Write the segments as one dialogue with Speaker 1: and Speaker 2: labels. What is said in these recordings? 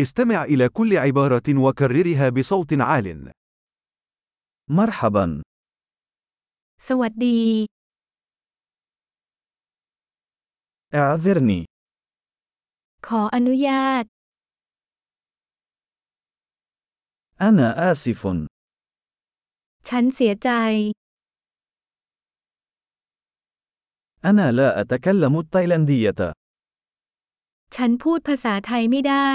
Speaker 1: استمع إلى كل عبارة وكررها بصوت عال.
Speaker 2: مرحبا.
Speaker 3: สวัสดี
Speaker 2: اعذرني.
Speaker 3: ขออนุญาต
Speaker 2: أنا آسف.
Speaker 3: ฉันเสียใจ
Speaker 2: أنا لا أتكلم التايلاندية.
Speaker 3: ฉันพูดภาษาไทยไม่ได้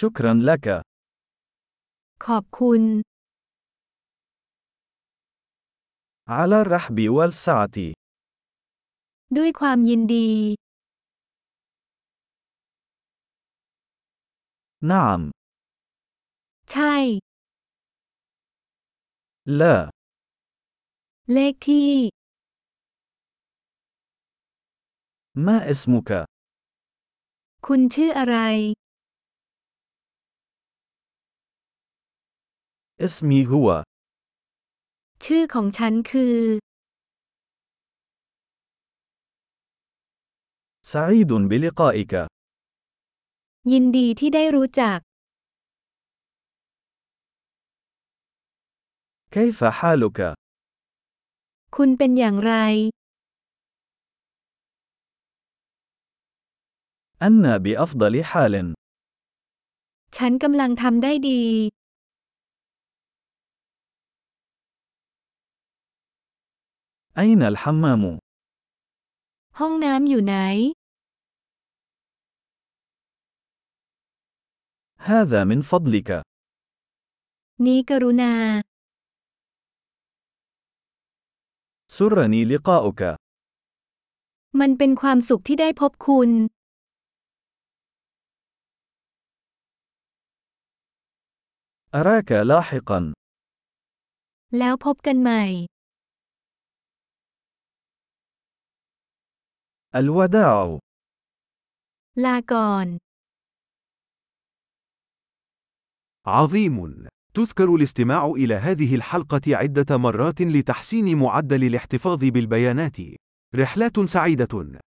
Speaker 2: شكرا لك.
Speaker 3: ขอบคุณ
Speaker 2: على الرحب والسعة.
Speaker 3: ด้วยความยินดี
Speaker 2: نعم.
Speaker 3: ใช่
Speaker 2: لا.
Speaker 3: เลขที่
Speaker 2: ما اسمك؟
Speaker 3: คุณชื่ออะไร
Speaker 2: اسمي هو.
Speaker 3: ชื่อของฉันคือ
Speaker 2: سعيد بلقائك.
Speaker 3: ยินดีที่ได้รู้จัก
Speaker 2: كيف حالك؟
Speaker 3: คุณเป็นอย่างไร
Speaker 2: أنا بأفضل حال.
Speaker 3: ฉันกำลังทำได้ดี
Speaker 2: أين الحمام؟
Speaker 3: ห้องน้ำอยู่ไหน
Speaker 2: هذا من فضلك.
Speaker 3: นี้กรุณา
Speaker 2: سرني لقاؤك.
Speaker 3: มันเป็นความสุขที่ได้พบคุณ
Speaker 2: أراك لاحقا.
Speaker 3: แล้วพบกันใหม่
Speaker 2: الوداع.
Speaker 3: ลาก่อน
Speaker 1: عظيم. تذكر الاستماع إلى هذه الحلقة عدة مرات لتحسين معدل الاحتفاظ بالبيانات. رحلات سعيدة.